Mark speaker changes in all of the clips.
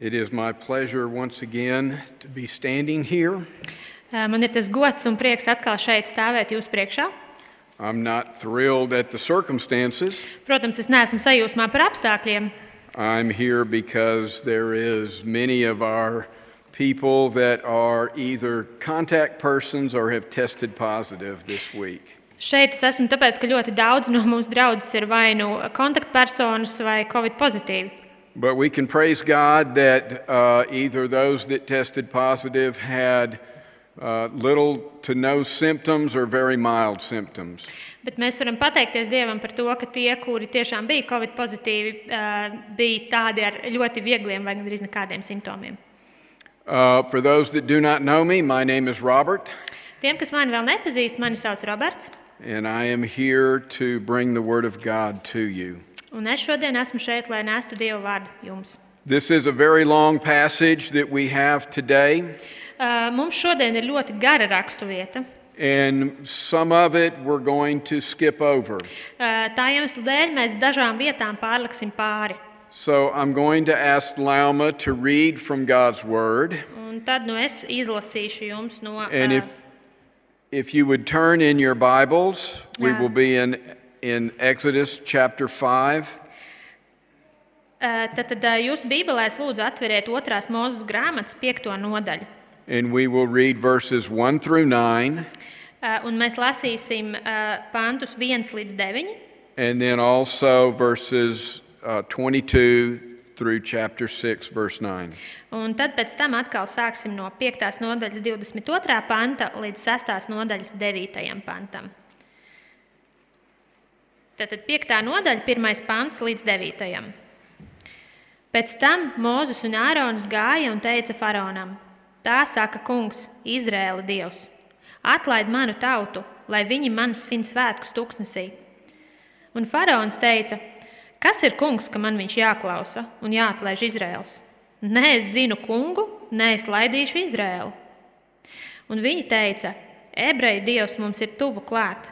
Speaker 1: It is my pleasure once again to be standing here.
Speaker 2: Ā, Man ir tas gods un prieks atkal šeit stāvēt jūsu priekšā.
Speaker 1: I'm not thrilled at the circumstances.
Speaker 2: Protams, es neesmu sajūsmā par apstākļiem.
Speaker 1: I'm here because there is many of our people that are either contact persons or have tested positive this week.
Speaker 2: Šeit es esmu tāpēc, ka ļoti daudz no mūsu draugiem ir vai nu kontaktpersonas, vai covid pozitīvi.
Speaker 1: But we can praise God that uh, either those that tested positive had uh, little to no symptoms or very mild symptoms.
Speaker 2: Bet mēs varam pateikties Dievam par to, ka tie, kuri tiešām bija covid pozitīvi, ā, bija tādi ar ļoti viegliem vai gandrīz nekādiem simptomiem.
Speaker 1: Uh, for those that do not know me, my name is Robert,
Speaker 2: Tiem, kas mani vēl nepazīst, mani sauc Roberts,
Speaker 1: and I am here to bring the Word of God to you.
Speaker 2: un es šodien esmu šeit, lai nestu Dievu vārdu jums.
Speaker 1: This is a very long passage that we have today,
Speaker 2: Ā, Mums šodien ir ļoti gara raksturvieta.
Speaker 1: and some of it we're going to skip over.
Speaker 2: Tā iemesla dēļ mēs dažām vietām pārliksim pāri.
Speaker 1: So I'm going to ask Lauma to read from God's Word.
Speaker 2: Un tad nu, es izlasīšu jums no
Speaker 1: And
Speaker 2: ā,
Speaker 1: if, if you would turn in your Bibles, we
Speaker 2: Yeah.
Speaker 1: will be in, in Exodus chapter 5.
Speaker 2: ā, tad, tad ā, jūs Bībelēs lūdzu atveriet otrās mūzes grāmatas piekto nodaļu.
Speaker 1: And we will read verses 1 through 9,
Speaker 2: Ā, Un mēs lasīsim ā, pantus 1 līdz 9,
Speaker 1: and then also verses uh, 22 through chapter 6, verse 9.
Speaker 2: un tad pēc tam atkal sāksim no 5. nodaļas 22. panta līdz 6. nodaļas 9. pantam. Tātad 5. nodaļa, 1. pants līdz 9. Pēc tam Mozus un Ārons gāja un teica faraonam: Tā saka kungs, Izrēla dievs, atlaid manu tautu, lai viņi man svin svētkus tuksnesī. Un faraons teica: Kas ir kungs, ka man viņš jāklausa un jāatlaiž Izrēls? Nē, es zinu kungu, nē, es laidīšu Izrēlu. Un viņi teica, ebreju dievs mums ir tuvu klāt.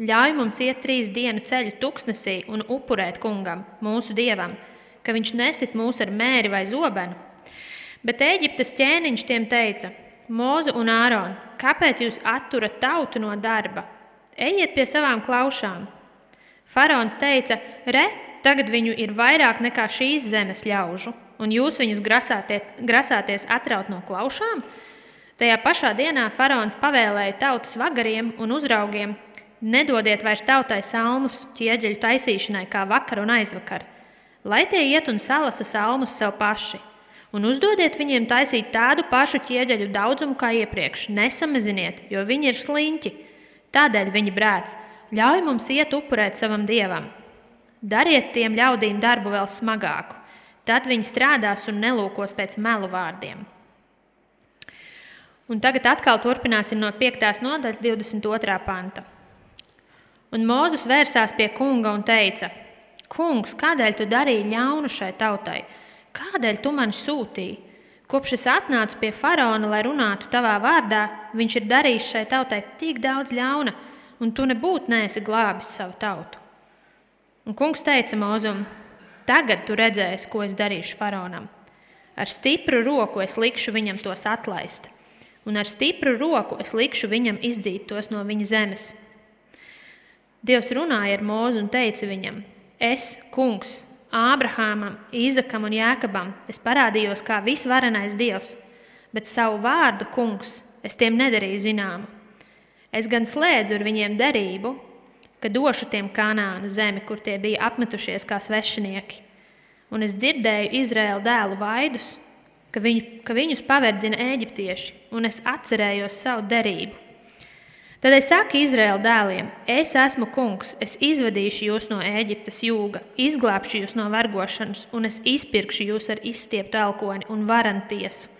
Speaker 2: Ļauj mums iet trīs dienu ceļu tuksnesī un upurēt kungam, mūsu dievam, ka viņš nesit mūs ar mēri vai zobenu. Bet Eģiptes ķēniņš tiem teica: Mozu un Āronu, kāpēc jūs atturat tautu no darba? Ejiet pie savām klaušām. Faraons teica: Re, tagad viņu ir vairāk nekā šīs zemes ļaužu, un jūs viņus grasātie- grasāties atraut no klaušām? Tajā pašā dienā faraons pavēlēja tautas vagariem un uzraugiem: Nedodiet vairs tautai salmus ķieģeļu taisīšanai, kā vakar un aizvakar, lai tie iet un salasa salmus sev paši. Un uzdodiet viņiem taisīt tādu pašu ķieģeļu daudzumu kā iepriekš. Nesamaziniet, jo viņi ir sliņķi. Tādēļ viņi brēc: ļauj mums iet upurēt savam dievam. Dariet tiem ļaudīm darbu vēl smagāku, tad viņi strādās un nelūkos pēc melu vārdiem. Un tagad atkal turpināsim no 5. nodaļas 22. panta. Un Mozus vērsās pie kunga un teica: Kungs, kādēļ tu darīji ļaunu šai tautai? Kādēļ tu mani sūtīji? Kopš es atnācu pie faraona, lai runātu tavā vārdā, viņš ir darījis šai tautai tik daudz ļauna, un tu nebūtu nesi glābis savu tautu. Un kungs teica Mozum, tagad tu redzēsi, ko es darīšu faraonam. Ar stipru roku es likšu viņam tos atlaist, un ar stipru roku es likšu viņam izdzīt tos no viņa zemes. Dievs runāja ar Mozu un teica viņam: Es, kungs, Ābrahamam, Īzakam un Jāekabam, es parādījos kā visvarenais dievs, bet savu vārdu, kungs, es tiem nedarīju zināmu. Es gan slēdzu ar viņiem derību, ka došu tiem kanāna zemi, kur tie bija apmetušies kā svešinieki. Un es dzirdēju Izraēla dēlu vaidus, ka, viņu, ka viņus paverdzina eģiptieši, un es atcerējos savu derību. Tad es saku Izraēla dēliem, es esmu kungs, es izvadīšu jūs no Ēģiptes jūga, izglābšu jūs no vergošanas, un es izpirkšu jūs ar izstieptu elkoni un varanu tiesu.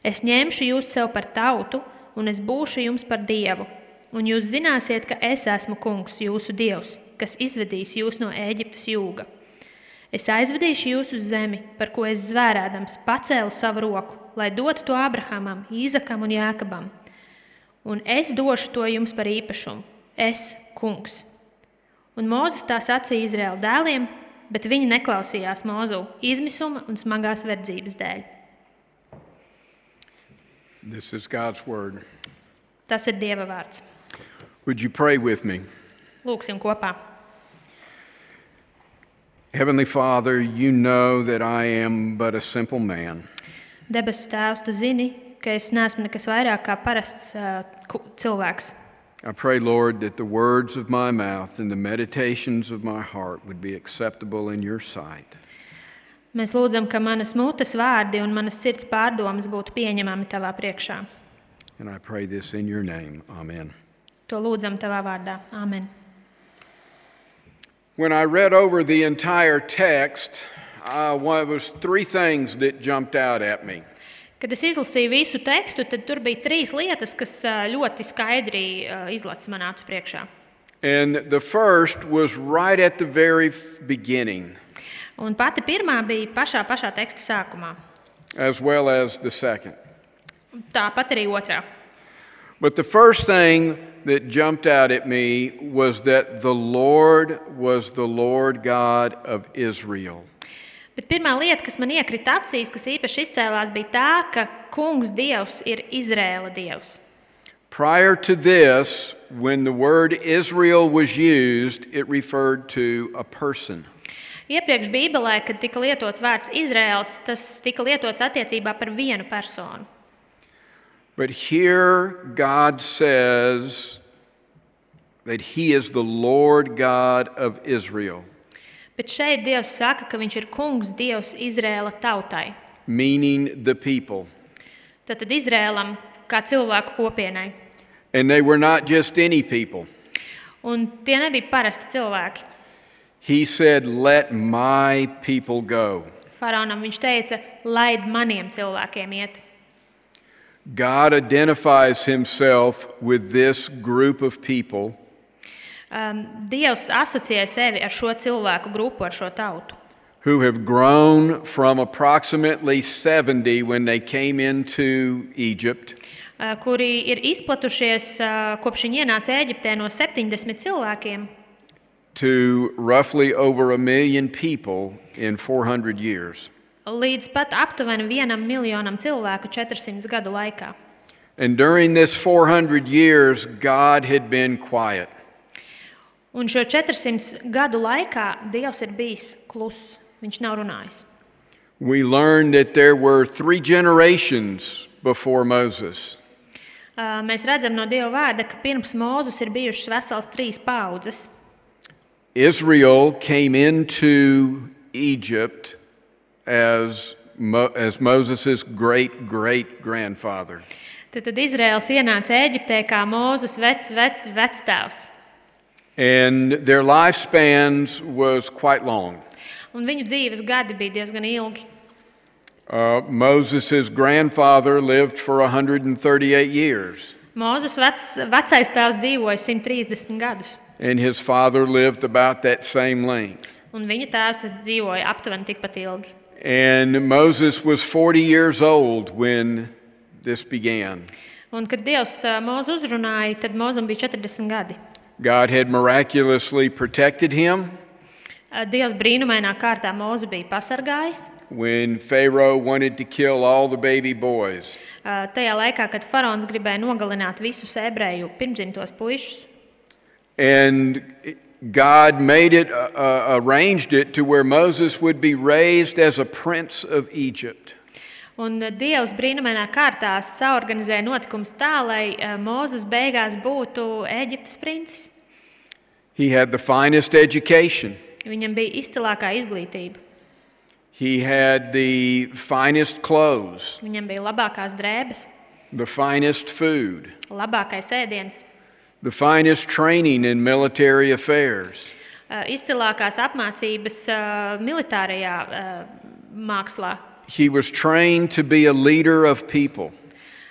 Speaker 2: Es ņemšu jūs sev par tautu, un es būšu jums par dievu. Un jūs zināsiet, ka es esmu kungs, jūsu dievs, kas izvedīs jūs no Ēģiptes jūga. Es aizvedīšu jūs uz zemi, par ko es zvērādams pacēlu savu roku, lai dotu to Abrahamam, Īzakam un Jākabam. Un es došu to jums par īpašumu. Es, kungs. Un Mozus tā sacīja Izraēla dēliem, bet viņi neklausījās mūzu izmisuma un smagās verdzības dēļ.
Speaker 1: This is God's word.
Speaker 2: Tas ir Dieva vārds.
Speaker 1: Would you pray with me?
Speaker 2: Lūksim kopā.
Speaker 1: Heavenly Father, you know that I am but a simple man.
Speaker 2: Debesu Tēvs, tu zini, ka es neesmu nekas vairāk kā parasts ā, ku- cilvēks.
Speaker 1: I pray, Lord, that the words of my mouth and the meditations of my heart would be acceptable in your sight.
Speaker 2: Mēs lūdzam, ka manas mutes vārdi un manas sirds pārdomas būtu pieņemami tavā priekšā.
Speaker 1: And I pray this in your name. Amen.
Speaker 2: To lūdzam tavā vārdā. Āmen.
Speaker 1: When I read over the entire text, uh, one, it was three things that jumped out at me.
Speaker 2: Kad es izlasīju visu tekstu, tad tur bija trīs lietas, kas ā, ļoti skaidri ā, izlaiž manā acu priekšā.
Speaker 1: And the first was right at the very f- beginning,
Speaker 2: Un pati pirmā bija pašā, pašā teksta sākumā.
Speaker 1: as well as the second.
Speaker 2: Tāpat arī otrā.
Speaker 1: But the first thing that jumped out at me was that the Lord was the Lord God of Israel.
Speaker 2: Bet pirmā lieta, kas man iekrita acīs, kas īpaši izcēlās, bija tā, ka kungs dievs ir Izrēla dievs.
Speaker 1: Prior to this, when the word Israel was used, it referred to a person.
Speaker 2: Iepriekš Bībelē, kad tika lietots vārds Izraels, tas tika lietots attiecībā par vienu personu.
Speaker 1: But here God says that He is the Lord God of Israel,
Speaker 2: Bet šeit Dievs saka, ka viņš ir kungs Dievs Izrēla tautai.
Speaker 1: meaning the people.
Speaker 2: Tad Izrēlam kā cilvēku kopienai.
Speaker 1: And they were not just any people.
Speaker 2: Un tie nebija parasti cilvēki.
Speaker 1: He said, Let my people go.
Speaker 2: Faraonam viņš teica, laid maniem cilvēkiem iet.
Speaker 1: God identifies himself with this group of people,
Speaker 2: Um, Dievs asociē sevi ar šo cilvēku grupu, ar šo tautu.
Speaker 1: who have grown from approximately 70 when they came into Egypt
Speaker 2: uh, kuri ir izplatušies uh, kopš viņa ienāca Eģiptē no 70 cilvēkiem
Speaker 1: to roughly over a million people in 400 years.
Speaker 2: līdz pat aptuveni vienam miljonam cilvēku 400 gadu laikā.
Speaker 1: And during this 400 years, God had been quiet.
Speaker 2: Un šo 400 gadu laikā Dievs ir bijis kluss, viņš nav runājis.
Speaker 1: We learn that there were three generations before Moses.
Speaker 2: Uh, Mēs redzam no Dieva vārda, ka pirms Mozus ir bijušas vesels trīs paudzes.
Speaker 1: Israel came into Egypt as, Mo- as Moses' great great grandfather.
Speaker 2: Tad, tad Izraels ienāca Eģiptē kā Mozus vecs, vecs, vecstāvs.
Speaker 1: And their lifespans was quite long.
Speaker 2: Un viņu dzīves gadi bija diezgan ilgi.
Speaker 1: Uh, Moses' grandfather lived for 138 years,
Speaker 2: Mozus vec, vecais tēvs dzīvoja 130 gadus,
Speaker 1: and his father lived about that same length.
Speaker 2: un viņa tēvs dzīvoja aptuveni tikpat ilgi.
Speaker 1: And Moses was 40 years old when this began.
Speaker 2: Un, kad Dievs ā, Mozu uzrunāja, tad Mozum bija 40 gadi.
Speaker 1: God had miraculously protected him.
Speaker 2: Ā, Dievs brīnumainā kārtā Mozu bija pasargājis.
Speaker 1: when Pharaoh wanted to kill all the baby boys.
Speaker 2: Ā, Tajā laikā, kad faraons gribēja nogalināt visus ebreju pirmdzimtos puikas,
Speaker 1: And God made it, uh, uh, arranged it to where Moses would be raised as a prince of Egypt.
Speaker 2: un ā, Dievs brīnumainā kārtā saorganizēja notikumus tā, lai ā, Mozus beigās būtu Eģiptes princis.
Speaker 1: He had the finest education,
Speaker 2: Viņam bija izcilākā izglītība,
Speaker 1: he had the finest clothes,
Speaker 2: viņam bija labākās drēbes.
Speaker 1: the finest food,
Speaker 2: labākais ēdiens,
Speaker 1: the finest training in military affairs.
Speaker 2: ā, eh, izcilākās apmācības ā, militārajā ā, mākslā.
Speaker 1: He was trained to be a leader of people.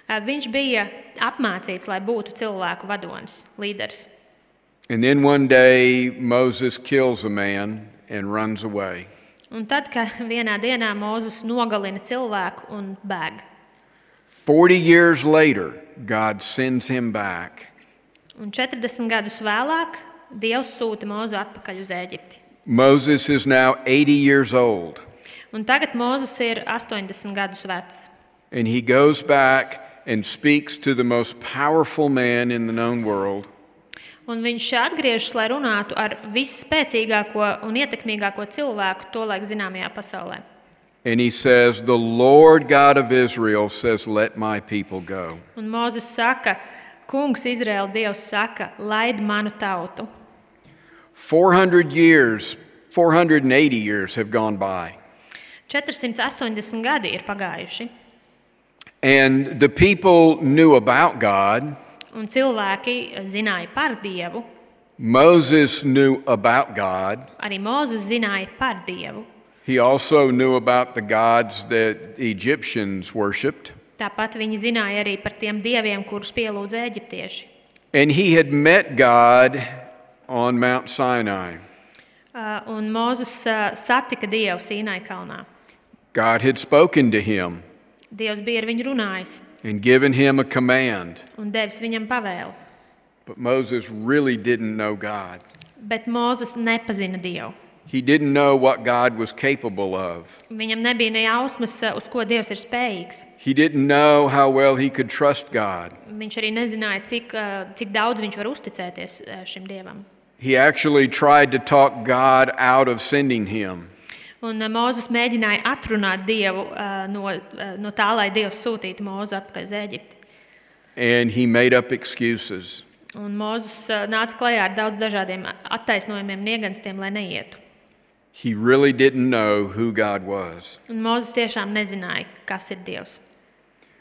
Speaker 2: Ā, Eh, Viņš bija apmācīts, lai būtu cilvēku vadonis, līderis.
Speaker 1: And then one day, Moses kills a man and runs away.
Speaker 2: Un tad, kad vienā dienā Mozus nogalina cilvēku un bēg,
Speaker 1: 40 years later, God sends him back
Speaker 2: un 40 gadus vēlāk Dievs sūta Mozu atpakaļ uz Eģipti.
Speaker 1: Moses is now 80 years old,
Speaker 2: Un tagad Mozus ir 80 gadus vecs.
Speaker 1: and he goes back and speaks to the most powerful man in the known world.
Speaker 2: Un viņš atgriežas, lai runātu ar visspēcīgāko un ietekmīgāko cilvēku tolaik zināmajā pasaulē.
Speaker 1: And he says, The Lord God of Israel says, Let my people go.
Speaker 2: Un Mozus saka, Kungs, Izraēla Dievs saka, laid manu tautu.
Speaker 1: 400 years, 480 years have gone by.
Speaker 2: 480 gadi ir pagājuši,
Speaker 1: And the people knew about God.
Speaker 2: un cilvēki zināja par Dievu.
Speaker 1: Moses knew about God.
Speaker 2: Arī Mozus zināja par Dievu.
Speaker 1: He also knew about the gods that Egyptians worshiped.
Speaker 2: Tāpat viņi zināja arī par tiem dieviem, kurus pielūdza eģiptieši.
Speaker 1: And he had met God on Mount Sinai.
Speaker 2: Uh, Un Mozus uh, satika Dievu Sīnai kalnā.
Speaker 1: God had spoken to him
Speaker 2: Dievs bija ar viņu runājis
Speaker 1: and given him a command.
Speaker 2: un devis viņam pavēlu.
Speaker 1: But Moses really didn't know God.
Speaker 2: Bet Mozus nepazina Dievu.
Speaker 1: He didn't know what God was capable of.
Speaker 2: Viņam nebija ne jausmas, uh, uz ko Dievs ir spējīgs.
Speaker 1: He didn't know how well he could trust God.
Speaker 2: Viņš arī nezināja, cik, eh, cik daudz viņš var uzticēties eh, šim Dievam.
Speaker 1: He actually tried to talk God out of sending him.
Speaker 2: Un eh, Mozus mēģināja atrunāt Dievu eh, no, eh, no tā, lai Dievs sūtītu Mozu atpakaļ uz Eģipti.
Speaker 1: And he made up excuses.
Speaker 2: Un Mozus eh, nāca klajā ar daudz dažādiem attaisnojumiem, nieganstiem, lai neietu.
Speaker 1: He really didn't know who God was.
Speaker 2: Un Mozus tiešām nezināja, kas ir Dievs.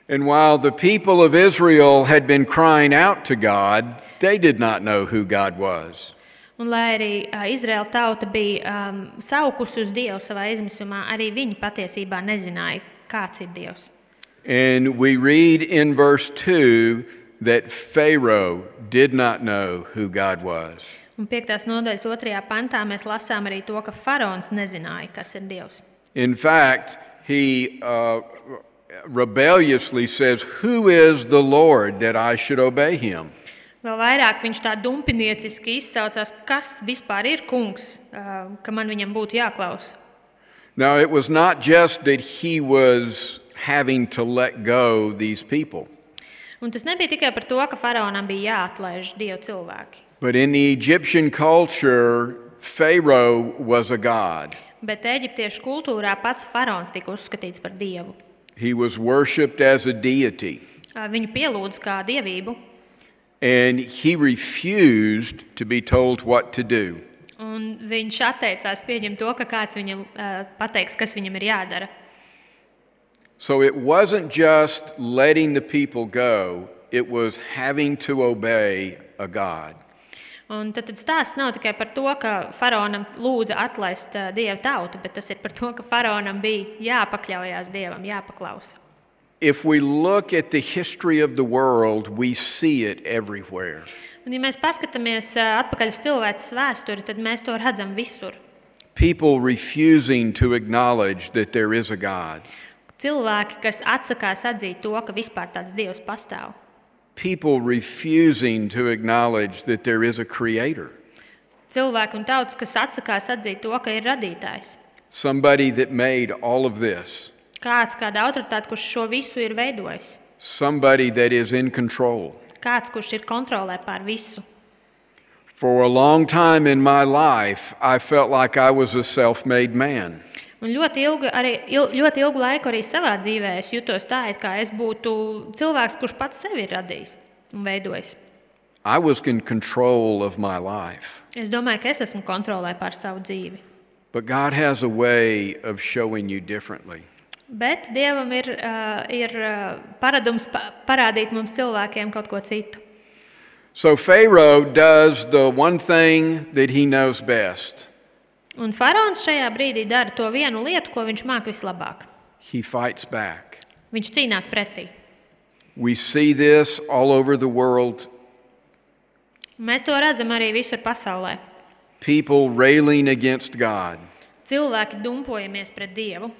Speaker 1: And while the people of Israel had been crying out to God, they did not know who God was.
Speaker 2: Un, lai arī uh, Izraēla tauta bija um, saukusi uz Dievu savā izmisumā, arī viņi patiesībā nezināja, kāds ir Dievs.
Speaker 1: And we read in verse 2 that Pharaoh did not know who God was.
Speaker 2: Un 5. nodaļas 2. pantā mēs lasām arī to, ka faraons nezināja, kas ir Dievs.
Speaker 1: In fact, he uh, rebelliously says, Who is the Lord that I should obey him?
Speaker 2: Vēl vairāk viņš tā dumpinieciski izsaucās, kas vispār ir kungs, uh, ka man viņam būtu jāklausa.
Speaker 1: Now, it was not just that he was having to let go these people,
Speaker 2: Un tas nebija tikai par to, ka faraonam bija jāatlaiž dievu cilvēki,
Speaker 1: but in the Egyptian culture, Pharaoh was a god.
Speaker 2: bet eģiptiešu kultūrā pats faraons tika uzskatīts par dievu.
Speaker 1: He was worshiped as a deity,
Speaker 2: Uh, Viņu pielūdza kā dievību,
Speaker 1: and he refused to be told what to do.
Speaker 2: Un viņš atteicās pieņemt to, ka kāds viņam uh, pateiks, kas viņam ir jādara.
Speaker 1: So it wasn't just letting the people go, it was having to obey a God.
Speaker 2: Un tad, tad stāsts nav tikai par to, ka faraonam lūdza atlaist uh, dievu tautu, bet tas ir par to, ka faraonam bija jāpakļaujas dievam, jāpaklausa.
Speaker 1: If we look at the history of the world, we see it everywhere.
Speaker 2: Un, ja mēs paskatāmies uh, atpakaļ uz cilvēces vēsturi, tad mēs to redzam visur.
Speaker 1: People refusing to acknowledge that there is a God,
Speaker 2: Cilvēki, kas atsakās atzīt to, ka vispār tāds dievs pastāv.
Speaker 1: people refusing to acknowledge that there is a creator,
Speaker 2: Cilvēki un tautas, kas atsakās atzīt to, ka ir radītājs.
Speaker 1: somebody that made all of this,
Speaker 2: Kāds, kāda autoritāte, kurš šo visu ir veidojis.
Speaker 1: somebody that is in control.
Speaker 2: Kāds, kurš ir kontrolē pār visu.
Speaker 1: For a long time in my life, I felt like I was a self made man.
Speaker 2: Un ļoti ilgu, arī, il, ļoti ilgu laiku arī savā dzīvē es jutos tā, it kā es būtu cilvēks, kurš pats sevi ir radījis un veidojis.
Speaker 1: I was in control of my life.
Speaker 2: Es domāju, ka es esmu kontrolē pār savu dzīvi.
Speaker 1: But God has a way of showing you differently.
Speaker 2: Bet dievam ir, uh, ir uh, paradums pa, parādīt mums cilvēkiem kaut ko citu.
Speaker 1: So Pharaoh does the one thing that he knows best
Speaker 2: Un faraons šajā brīdī dara to vienu lietu, ko viņš māca vislabāk.
Speaker 1: he fights back.
Speaker 2: Viņš cīnās pretī.
Speaker 1: We see this all over the world
Speaker 2: Mēs to redzam arī visur pasaulē.
Speaker 1: people railing against God,
Speaker 2: Cilvēki dumpojamies pret dievu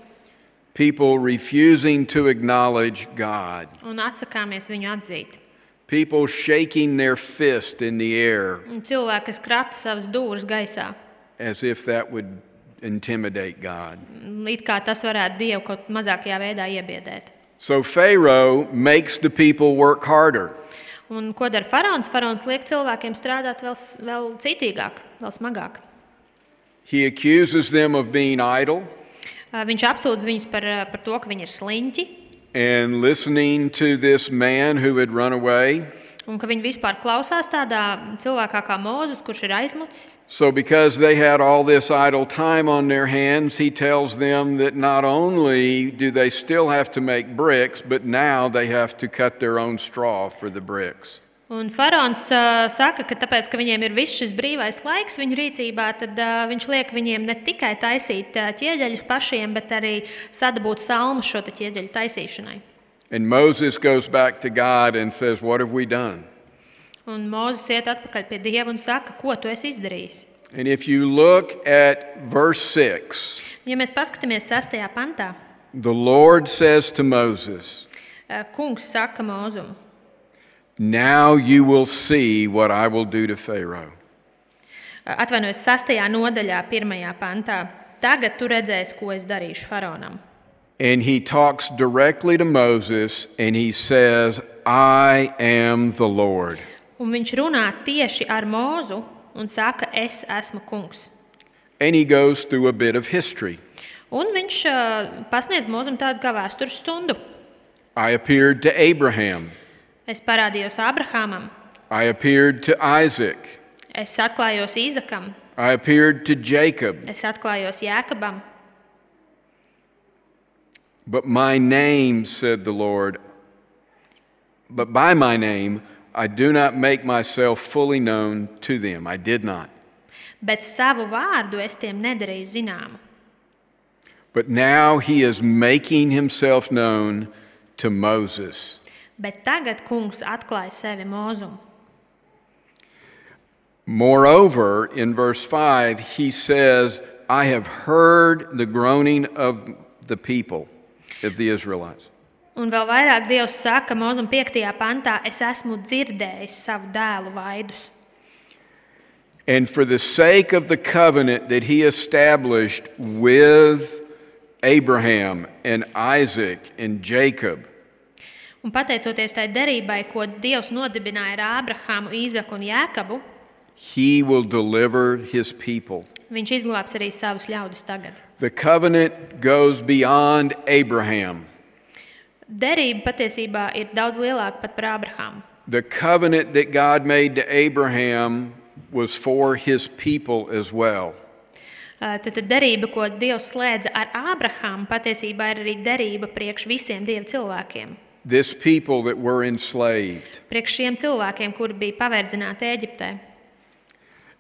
Speaker 1: people refusing to acknowledge God,
Speaker 2: un atsakāmies viņu atzīt.
Speaker 1: people shaking their fist in the air
Speaker 2: Un cilvēki, kas krata savas dūris gaisā,
Speaker 1: as if that would intimidate God.
Speaker 2: It kā tas varētu Dievu kaut mazākajā veidā iebiedēt.
Speaker 1: So Pharaoh makes the people work harder.
Speaker 2: Un ko dara faraons? Faraons liek cilvēkiem strādāt vēl, s- vēl citīgāk, vēl smagāk.
Speaker 1: He accuses them of being idle
Speaker 2: Ā, Viņš apsūdz viņus par, ā, par to, ka viņi ir sliņķi
Speaker 1: and listening to this man who had run away.
Speaker 2: un ka viņi vispār klausās tādā cilvēkā kā Mozus, kurš ir aizmucis.
Speaker 1: So, because they had all this idle time on their hands, he tells them that not only do they still have to make bricks, but now they have to cut their own straw for the bricks.
Speaker 2: Un faraons ā, saka, ka tāpēc, ka viņiem ir viss šis brīvais laiks viņu rīcībā, tad ā, viņš liek viņiem ne tikai taisīt ā, ķieģeļus pašiem, bet arī sadabūt salmu šo te ķieģeļu taisīšanai.
Speaker 1: And Moses goes back to God and says, What have we done?
Speaker 2: Un Mozus iet atpakaļ pie Dieva un saka, ko tu esi izdarījis.
Speaker 1: And if you look at verse 6,
Speaker 2: Ja mēs paskatāmies sastajā pantā,
Speaker 1: the Lord says to Moses,
Speaker 2: eh, kungs saka Mozum,
Speaker 1: Now you will see what I will do to Pharaoh.
Speaker 2: atvainojas sastajā nodaļā, pirmajā pantā. Tagad tu redzēsi, ko es darīšu faraonam.
Speaker 1: And he talks directly to Moses and he says, I am the Lord.
Speaker 2: Un viņš runā tieši ar Mozu un saka, es esmu kungs.
Speaker 1: And he goes through a bit of history.
Speaker 2: Un viņš eh, pasniedz Mozum tādu kā vēstures stundu.
Speaker 1: I appeared to Abraham.
Speaker 2: Es parādījos Abrahamam,
Speaker 1: I appeared to Isaac.
Speaker 2: es atklājos Īzakam,
Speaker 1: I appeared to Jacob.
Speaker 2: es atklājos Jēkabam,
Speaker 1: But my name, said the Lord, but by my name, I do not make myself fully known to them. I did not.
Speaker 2: bet savu vārdu es tiem nedarīju zināmu.
Speaker 1: But now he is making himself known to Moses.
Speaker 2: Bet tagad kungs atklāja sevi mūzumu.
Speaker 1: Moreover, in verse 5, he says, I have heard the groaning of the people, of the Israelites.
Speaker 2: Un vēl vairāk Dievs saka mūzum 5. pantā, es esmu dzirdējis savu dēlu vaidus.
Speaker 1: And for the sake of the covenant that he established with Abraham and Isaac and Jacob,
Speaker 2: Un pateicoties tai derībai, ko Dievs nodibināja ar Ābrahāmu, Īzaku un Jēkabu,
Speaker 1: he will deliver his people.
Speaker 2: viņš izglābs arī savus ļaudis tagad.
Speaker 1: The covenant goes beyond Abraham.
Speaker 2: Derība patiesībā ir daudz lielāka pat par Ābrahāmu.
Speaker 1: The covenant that God made to Abraham was for his people as well.
Speaker 2: Ā, Tad, tad derība, ko Dievs slēdza ar Ābrahāmu, patiesībā ir arī derība priekš visiem Dieva cilvēkiem.
Speaker 1: This people that were enslaved.
Speaker 2: Priekš šiem cilvēkiem, kuri bija paverdzināti Eģiptē.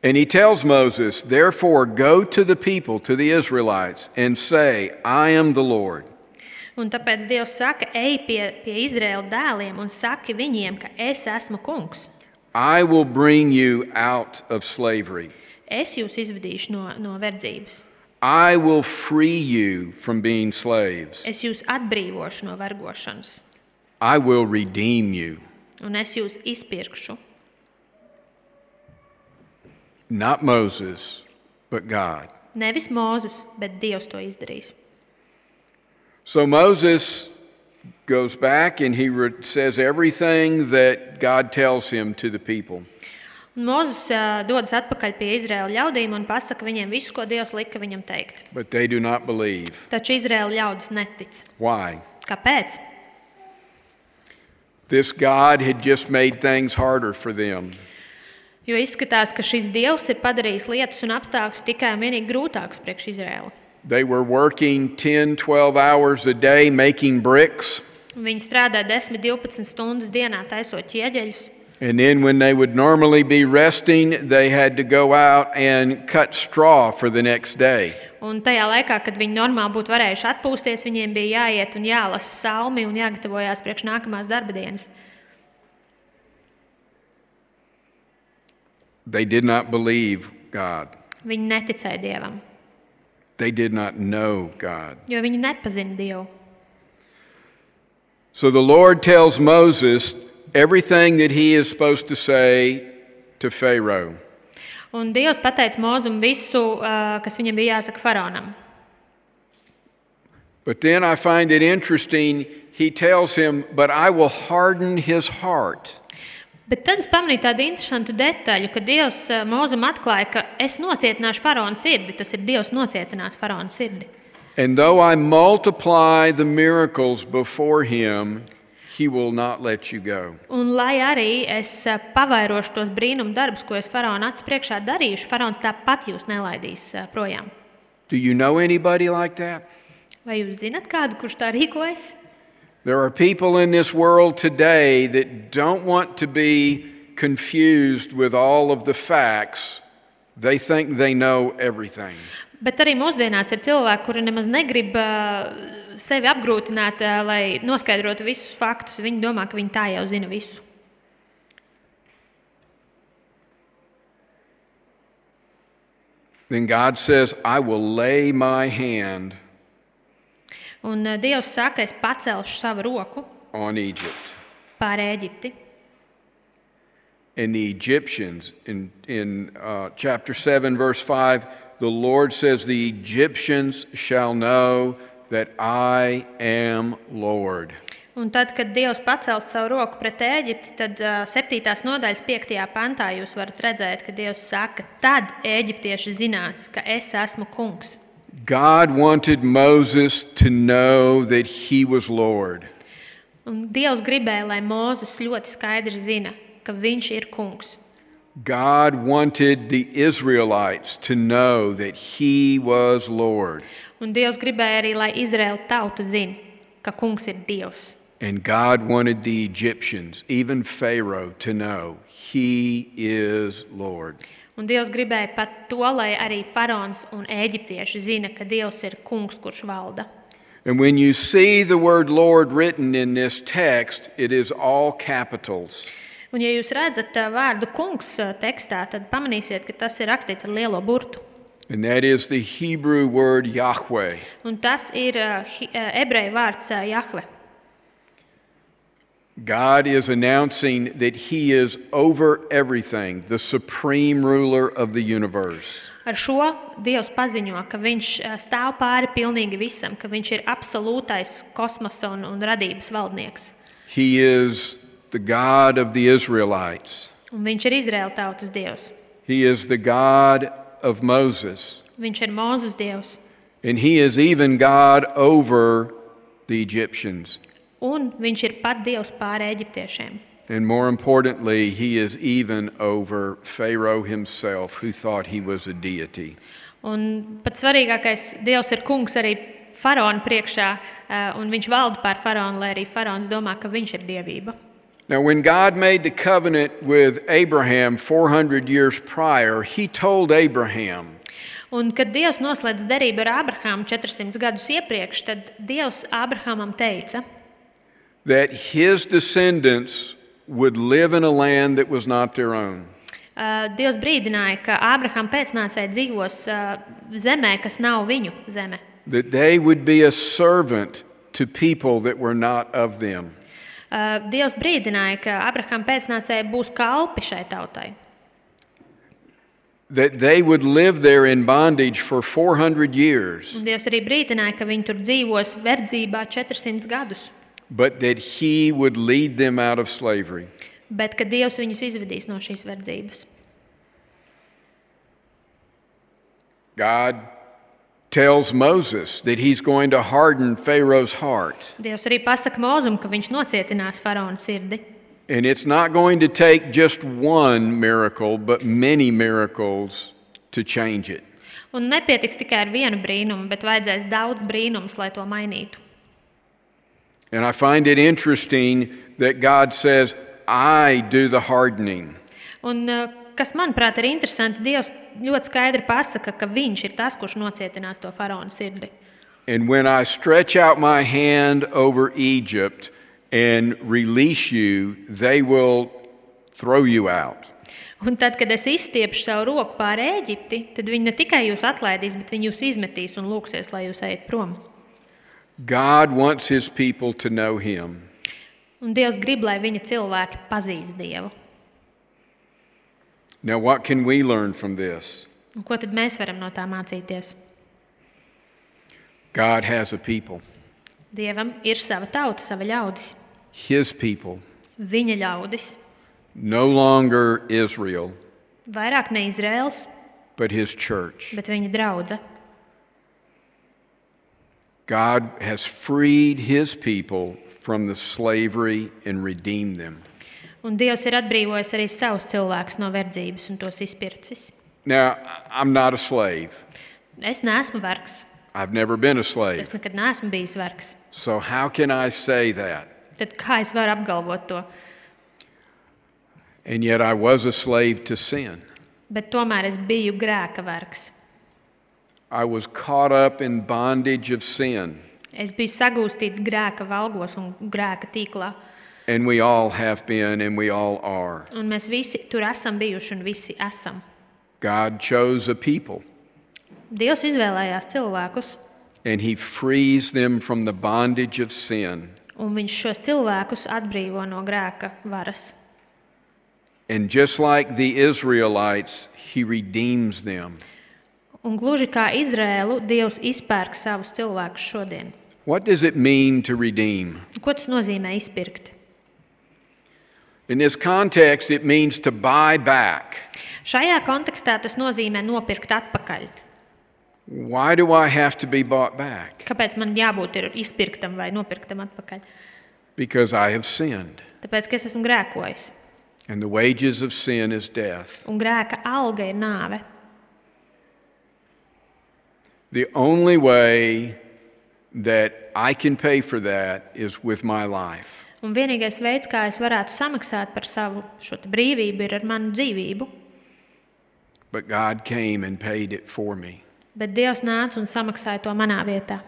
Speaker 1: And he tells Moses, Therefore, go to the people, to the Israelites, and say, I am the Lord.
Speaker 2: Un tāpēc Dievs saka, ej pie, pie Izraēla dēliem un saki viņiem, ka es esmu kungs.
Speaker 1: I will bring you out of slavery.
Speaker 2: Es jūs izvadīšu no, no verdzības.
Speaker 1: I will free you from being slaves.
Speaker 2: Es jūs atbrīvošu no vergošanas,
Speaker 1: I will redeem you.
Speaker 2: un es jūs izpirkšu.
Speaker 1: Not Moses, but God.
Speaker 2: Nevis Mozus, bet Dievs to izdarīs.
Speaker 1: So Moses goes back and he re- says everything that God tells him to the people.
Speaker 2: Un Mozus uh, dodas atpakaļ pie Izraēla ļaudīm un pasaka viņiem visu, ko Dievs lika viņam teikt.
Speaker 1: But they do not believe.
Speaker 2: Taču Izraēla ļaudis netic.
Speaker 1: Why?
Speaker 2: Kāpēc?
Speaker 1: This God had just made things harder for them.
Speaker 2: Jo izskatās, ka šis Dievs ir padarījis lietas un apstākļus tikai un vienīgi grūtākus priekš Izraēla.
Speaker 1: They were working 10, 12 hours a day making bricks.
Speaker 2: Viņi strādā 10, 12 stundas dienā, taisot ķieģeļus.
Speaker 1: And then, when they would normally be resting, they had to go out and cut straw for the next day.
Speaker 2: Un tajā laikā, kad viņi normāli būtu varējuši atpūsties, viņiem bija jāiet un jālasa salmi un jāgatavojās priekš nākamās darba dienas.
Speaker 1: They did not believe God,
Speaker 2: Viņi neticēja Dievam,
Speaker 1: they did not know God.
Speaker 2: jo viņi nepazina Dievu.
Speaker 1: So the Lord tells Moses everything that he is supposed to say to Pharaoh.
Speaker 2: Un Dievs pateica Mozum visu, ā, kas viņam bija jāsaka faraonam.
Speaker 1: But then I find it interesting, he tells him, But I will harden his heart.
Speaker 2: Bet tad es pamanīju tādu interesantu detaļu, ka Dievs ā, Mozum atklāja, ka es nocietināšu faraona sirdi. Tas ir Dievs nocietinās faraona sirdi.
Speaker 1: And though I multiply the miracles before him, he will not let you go.
Speaker 2: Un lai arī es ā, pavairošu tos brīnumu darbus, ko es faraona acu priekšā darīšu, faraons tāpat jūs nelaidīs ā, projām.
Speaker 1: Do you know anybody like that?
Speaker 2: Vai jūs zinat kādu, kurš tā rīkojas?
Speaker 1: There are people in this world today that don't want to be confused with all of the facts. They think they know everything.
Speaker 2: Bet arī mūsdienās ir cilvēki, kuri nemaz negrib ā, sevi apgrūtināt, ā, lai noskaidrotu visus faktus. Viņi domā, ka viņi tā jau zina visu.
Speaker 1: Then God says, I will lay my hand
Speaker 2: Un ā, Dievs saka, es pacelšu savu roku
Speaker 1: on Egypt.
Speaker 2: pār Eģipti.
Speaker 1: And the Egyptians, in, in uh, chapter 7, verse 5, the Lord says, The Egyptians shall know that I am Lord.
Speaker 2: Un tad, kad Dievs pacels savu roku pret Eģipti, tad ā, 7. nodaļas 5. pantā jūs varat redzēt, ka Dievs saka, tad eģiptieši zinās, ka es esmu kungs.
Speaker 1: God wanted Moses to know that he was Lord.
Speaker 2: Un Dievs gribēja, lai Mozus ļoti skaidri zina, ka viņš ir kungs.
Speaker 1: God wanted the Israelites to know that he was Lord.
Speaker 2: Un Dievs gribēja arī, lai Izraēla tauta zina, ka kungs ir Dievs.
Speaker 1: And God wanted the Egyptians, even Pharaoh, to know he is Lord.
Speaker 2: Un Dievs gribēja pat to, lai arī faraons un eģiptieši zina, ka Dievs ir kungs, kurš valda.
Speaker 1: And when you see the word Lord written in this text, it is all capitals.
Speaker 2: Un, ja jūs redzat ā, vārdu kungs ā, tekstā, tad pamanīsiet, ka tas ir rakstīts ar lielo burtu.
Speaker 1: And that is the Hebrew word Yahweh.
Speaker 2: Un tas ir ā, hi- ā, ebreju vārds ā, Jahve.
Speaker 1: God is announcing that he is over everything, the supreme ruler of the universe.
Speaker 2: Ar šo Dievs paziņo, ka viņš ā, stāv pāri pilnīgi visam, ka viņš ir absolūtais kosmosa un, un radības valdnieks.
Speaker 1: He is the God of the Israelites.
Speaker 2: Un viņš ir Izraēla tautas dievs.
Speaker 1: He is the God of Moses.
Speaker 2: Viņš ir Mozus dievs.
Speaker 1: And he is even God over the Egyptians.
Speaker 2: Un viņš ir pat dievs pār eģiptiešiem.
Speaker 1: And more importantly, he is even over Pharaoh himself, who thought he was a deity.
Speaker 2: Un pats svarīgākais, dievs ir kungs arī faraona priekšā, eh, un viņš valda pār faraonu, lai arī faraons domā, ka viņš ir dievība.
Speaker 1: Now, when God made the covenant with Abraham 400 years prior, he told Abraham,
Speaker 2: Un, kad Dievs noslēdz derību ar Abrahāmu 400 gadus iepriekš, tad Dievs Abrahamam teica,
Speaker 1: that his descendants would live in a land that was not their own.
Speaker 2: eh, Dievs brīdināja, ka Abrahama pēcnācēji dzīvos eh, zemē, kas nav viņu zeme,
Speaker 1: that they would be a servant to people that were not of them.
Speaker 2: Uh, Dievs brīdināja, ka Abrahama pēcnācēji būs kalpi šai tautai.
Speaker 1: That they would live there in bondage for 400 years,
Speaker 2: Un Dievs arī brīdināja, ka viņi tur dzīvos verdzībā 400 gadus,
Speaker 1: but that He would lead them out of slavery.
Speaker 2: bet ka Dievs viņus izvedīs no šīs verdzības.
Speaker 1: God tells Moses that He's going to harden Pharaoh's heart.
Speaker 2: Dievs arī pasaka Mozum, ka viņš nocietinās faraona sirdi.
Speaker 1: And it's not going to take just one miracle, but many miracles to change it.
Speaker 2: Un nepietiks tikai ar vienu brīnumu, bet vajadzēs daudz brīnumus, lai to mainītu.
Speaker 1: And I find it interesting that God says, I do the hardening.
Speaker 2: Un, uh, kas manuprāt ir interesanti, Dievs ļoti skaidri pasaka, ka viņš ir tas, kurš nocietinās to faraona sirdi.
Speaker 1: And when I stretch out my hand over Egypt and release you, they will throw you out.
Speaker 2: Un tad, kad es izstiepšu savu roku pāri Eģipti, tad viņi ne tikai jūs atlaidīs, bet viņi jūs izmetīs un lūgsies, lai jūs ejiet prom.
Speaker 1: God wants his people to know him.
Speaker 2: Un Dievs grib, lai viņa cilvēki pazīst Dievu.
Speaker 1: Now, what can we learn from this?
Speaker 2: Un Ko tad mēs varam no tā mācīties?
Speaker 1: God has a people,
Speaker 2: Dievam ir sava tauta, sava ļaudis.
Speaker 1: His people,
Speaker 2: Viņa ļaudis
Speaker 1: no longer Israel,
Speaker 2: vairāk ne Izraels,
Speaker 1: but His church.
Speaker 2: bet viņa draudzene.
Speaker 1: God has freed His people from the slavery and redeemed them.
Speaker 2: Un Dievs ir atbrīvojis arī savus cilvēkus no verdzības un tos izpircis.
Speaker 1: Now, I- I'm not a slave.
Speaker 2: Es neesmu vergs.
Speaker 1: I've never been a
Speaker 2: Es
Speaker 1: slave.
Speaker 2: nekad neesmu bijis vergs.
Speaker 1: So, how can I say that?
Speaker 2: Tad kā es varu apgalvot to?
Speaker 1: And yet, I was a slave to sin.
Speaker 2: Bet tomēr es biju grēka vergs.
Speaker 1: I was caught up in bondage of sin,
Speaker 2: Es biju sagūstīts grēka valgos un grēka tīklā.
Speaker 1: and we all have been, and we all are.
Speaker 2: Un mēs visi tur esam bijuši un visi esam.
Speaker 1: God chose a people,
Speaker 2: Dievs izvēlējās cilvēkus,
Speaker 1: and He frees them from the bondage of sin.
Speaker 2: un Viņš šos cilvēkus atbrīvo no grēka varas.
Speaker 1: And just like the Israelites, He redeems them.
Speaker 2: Un gluži kā Izrēlu, Dievs izpērk savus cilvēkus šodien.
Speaker 1: What does it mean to redeem?
Speaker 2: Ko tas nozīmē izpirkt?
Speaker 1: In this context, it means to buy back.
Speaker 2: Šajā kontekstā tas nozīmē nopirkt atpakaļ.
Speaker 1: Why do I have to be bought back?
Speaker 2: Kāpēc man jābūt ir izpirktam vai nopirktam atpakaļ?
Speaker 1: Because I have sinned,
Speaker 2: Tāpēc, ka es esmu grēkojis,
Speaker 1: and the wages of sin is death.
Speaker 2: un grēka alga ir nāve.
Speaker 1: The only way that I can pay for that is with my life.
Speaker 2: Un vienīgais veids, kā es varētu samaksāt par savu šo te brīvību, ir ar manu dzīvību.
Speaker 1: But God came and paid it for me.
Speaker 2: Bet Dievs nāca un samaksāja to manā vietā.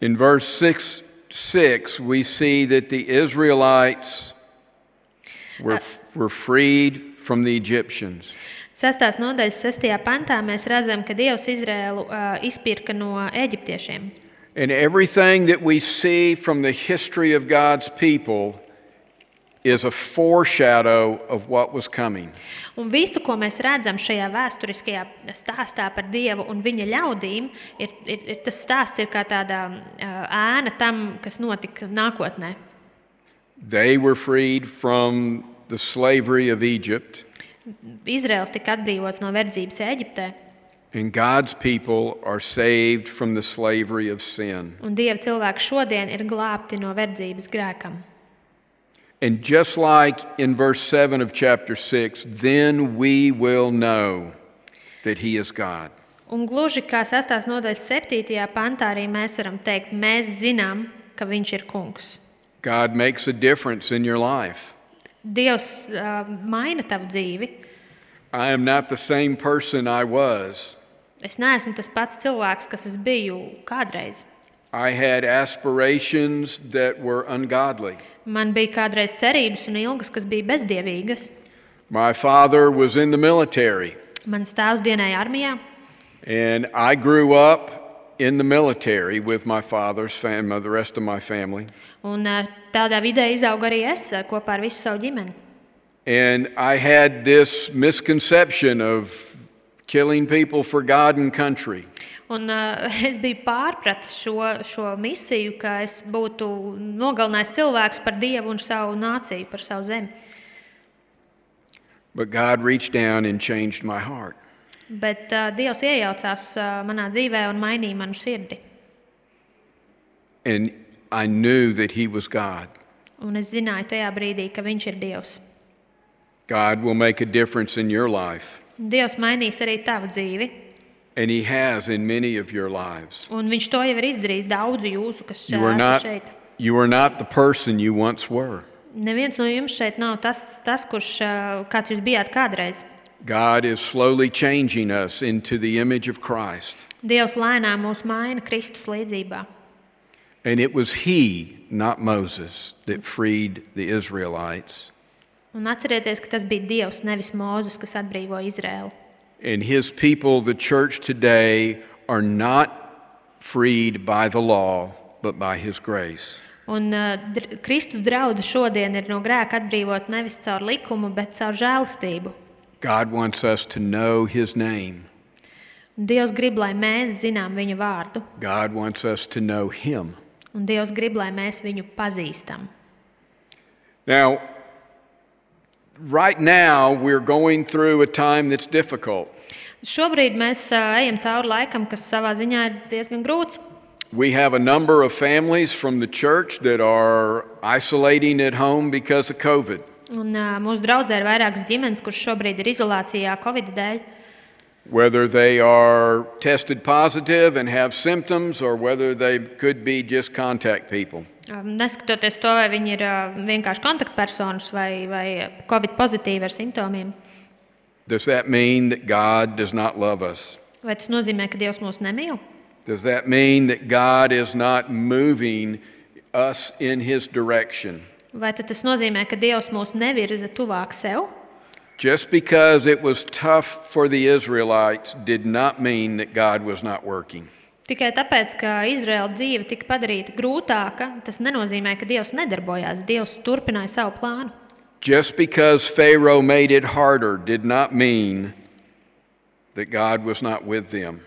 Speaker 1: In verse 6, 6 we see that the Israelites were, were freed from the Egyptians.
Speaker 2: Sastās nodaļas sestajā pantā mēs redzam, ka Dievs Izrēlu uh, izpirka no eģiptiešiem.
Speaker 1: And everything that we see from the history of God's people is a foreshadow of what was coming.
Speaker 2: Un visu, ko mēs redzam šajā vēsturiskajā stāstā par Dievu un viņa ļaudīm, ir, ir, ir tas stāsts ir kā tāda uh, ēna tam, kas notika nākotnē.
Speaker 1: They were freed from the slavery of Egypt,
Speaker 2: Izraels tika atbrīvots no verdzības Eģiptē,
Speaker 1: and God's people are saved from the slavery of sin.
Speaker 2: un Dieva cilvēki šodien ir glābti no verdzības grēkam.
Speaker 1: And just like in verse 7 of chapter 6, then we will know that He is God.
Speaker 2: Un gluži kā 6. nodaļas 7. pantā arī mēs varam teikt, mēs zinām, ka Viņš ir kungs.
Speaker 1: God makes a difference in your life.
Speaker 2: Dievs uh, maina tavu dzīvi.
Speaker 1: I am not the same person I was.
Speaker 2: Es neesmu tas pats cilvēks, kas es biju kādreiz.
Speaker 1: I had aspirations that were ungodly.
Speaker 2: Man bija kādreiz cerības un ilgas, kas bija bezdievīgas.
Speaker 1: My father was in the military,
Speaker 2: Mans tēvs dienēja armijā,
Speaker 1: and I grew up in the military with my father's family, the rest of my family.
Speaker 2: un eh, tādā vidē izauga arī es eh, kopā ar visu savu ģimeni.
Speaker 1: And I had this misconception of killing people for God and country.
Speaker 2: Un, eh, es biju pārpratis šo, šo misiju, ka es būtu nogalinājis cilvēkus par dievu un savu nāciju, par savu zemi.
Speaker 1: But God reached down and changed my heart.
Speaker 2: Bet uh, Dievs iejaucās uh, manā dzīvē un mainīja manu sirdi.
Speaker 1: And I knew that He was God.
Speaker 2: Un es zināju tajā brīdī, ka Viņš ir Dievs.
Speaker 1: God will make a difference in your life,
Speaker 2: Un Dievs mainīs arī tavu dzīvi,
Speaker 1: and He has in many of your lives.
Speaker 2: un Viņš to jau ir izdarījis daudzu jūsu, kas eh,
Speaker 1: You are
Speaker 2: esat
Speaker 1: not,
Speaker 2: šeit.
Speaker 1: you are not the person you once were.
Speaker 2: Neviens no jums šeit nav tas, tas kurš uh, kāds jūs bijāt kādreiz.
Speaker 1: God is slowly changing us into the image of Christ.
Speaker 2: Dievs lēnām mūs maina Kristus līdzjūtībā.
Speaker 1: And it was He, not Moses, that freed the Israelites.
Speaker 2: Un atcerieties, ka tas bija Dievs, nevis Mozus, kas atbrīvoja Izraēlu.
Speaker 1: And His people, the church today, are not freed by the law, but by His grace.
Speaker 2: Un uh, dr Kristus draudzes šodien ir no grēka atbrīvot nevis caur likumu, bet caur žēlastību.
Speaker 1: God wants us to know His name,
Speaker 2: Un Dievs grib, lai mēs zinām viņu vārdu,
Speaker 1: God wants us to know Him.
Speaker 2: un Dievs grib, lai mēs viņu pazīstam.
Speaker 1: Now, right now, we're going through a time that's difficult.
Speaker 2: Šobrīd mēs uh, ejam cauri laikam, kas savā ziņā ir diezgan grūts.
Speaker 1: We have a number of families from the church that are isolating at home because of COVID.
Speaker 2: Un, uh, mūsu draugzē ir vairākas ģimenes, kuras šobrīd ir izolācijā Covid dēļ.
Speaker 1: Whether they are tested positive and have symptoms, or whether they could be just contact people.
Speaker 2: Um, Neskatoties to, vai viņi ir uh, vienkārši kontaktpersonas vai, vai covid pozitīvi ar simptomiem,
Speaker 1: Does that mean that God does not love us?
Speaker 2: vai tas nozīmē, ka Dievs mūs nemīl?
Speaker 1: Does that mean that God is not moving us in His direction?
Speaker 2: Vai tad tas nozīmē, ka Dievs mūs nevirza tuvāk sev?
Speaker 1: Just because it was tough for the Israelites did not mean that God was not working.
Speaker 2: Tikai tāpēc, ka Izraēla dzīve tika padarīta grūtāka, tas nenozīmē, ka Dievs nedarbojās. Dievs turpināja savu plānu.
Speaker 1: Just because Pharaoh made it harder did not mean that God was not with them.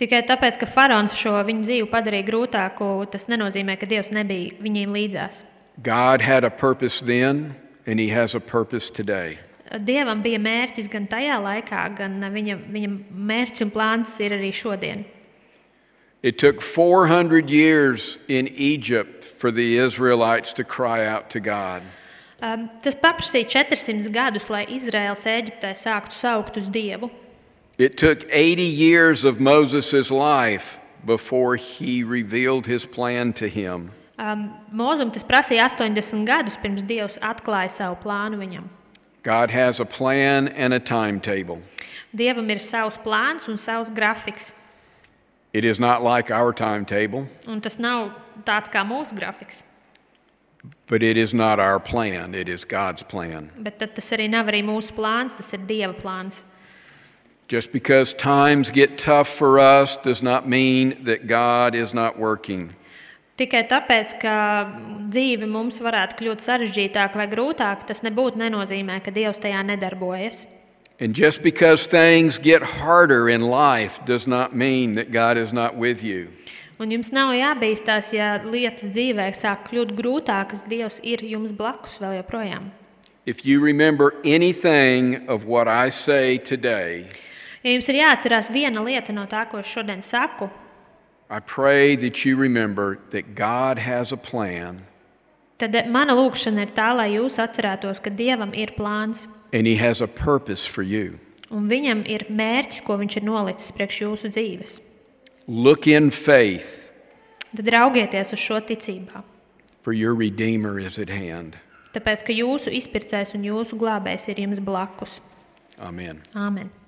Speaker 2: Tikai tāpēc, ka faraons šo viņu dzīvi padarīja grūtāku, tas nenozīmē, ka Dievs nebija viņiem līdzās.
Speaker 1: God had a purpose then, and He has a purpose today.
Speaker 2: Dievam bija mērķis gan tajā laikā, gan uh, viņa, viņa mērķis un plāns ir arī šodien.
Speaker 1: It took 400 years in Egypt for the Israelites to cry out to God.
Speaker 2: Um, Tas prasīja 400 gadus, lai Izraels Eģiptē sāktu saukt uz Dievu.
Speaker 1: It took 80 years of Moses' life before he revealed his plan to him.
Speaker 2: Um, Mozum tas prasīja 80 gadus, pirms Dievs atklāja savu plānu viņam.
Speaker 1: God has a plan and a timetable.
Speaker 2: Dievam ir savs plāns un savs grafiks,
Speaker 1: It is not like our timetable,
Speaker 2: un tas nav tāds kā mūsu grafiks.
Speaker 1: but it is not our plan, it is God's plan.
Speaker 2: Bet tad tas arī nav arī mūsu plāns, tas ir Dieva plāns.
Speaker 1: Just because times get tough for us does not mean that God is not working.
Speaker 2: Tikai tāpēc, ka dzīve mums varētu kļūt sarežģītāka vai grūtāka, tas nebūtu nenozīmē, ka Dievs tajā nedarbojas.
Speaker 1: And just because things get harder in life does not mean that God is not with you.
Speaker 2: Un jums nav jābīstās, ja lietas dzīvē sāk kļūt grūtākas, Dievs ir jums blakus vēl joprojām.
Speaker 1: If you remember anything of what I say today,
Speaker 2: Ja jums ir jāatcerās viena lieta no tā, ko es šodien saku,
Speaker 1: I pray that you remember that God has a plan
Speaker 2: tad mana lūkšana ir tā, lai jūs atcerētos, ka Dievam ir plāns
Speaker 1: and He has a purpose for you.
Speaker 2: un Viņam ir mērķis, ko Viņš ir nolicis priekš jūsu dzīves.
Speaker 1: Look in faith,
Speaker 2: Tad raugieties uz šo ticībā,
Speaker 1: for your Redeemer is at hand.
Speaker 2: tāpēc ka jūsu izpirkējs un jūsu glābējs ir jums blakus.
Speaker 1: Amen.
Speaker 2: Amen.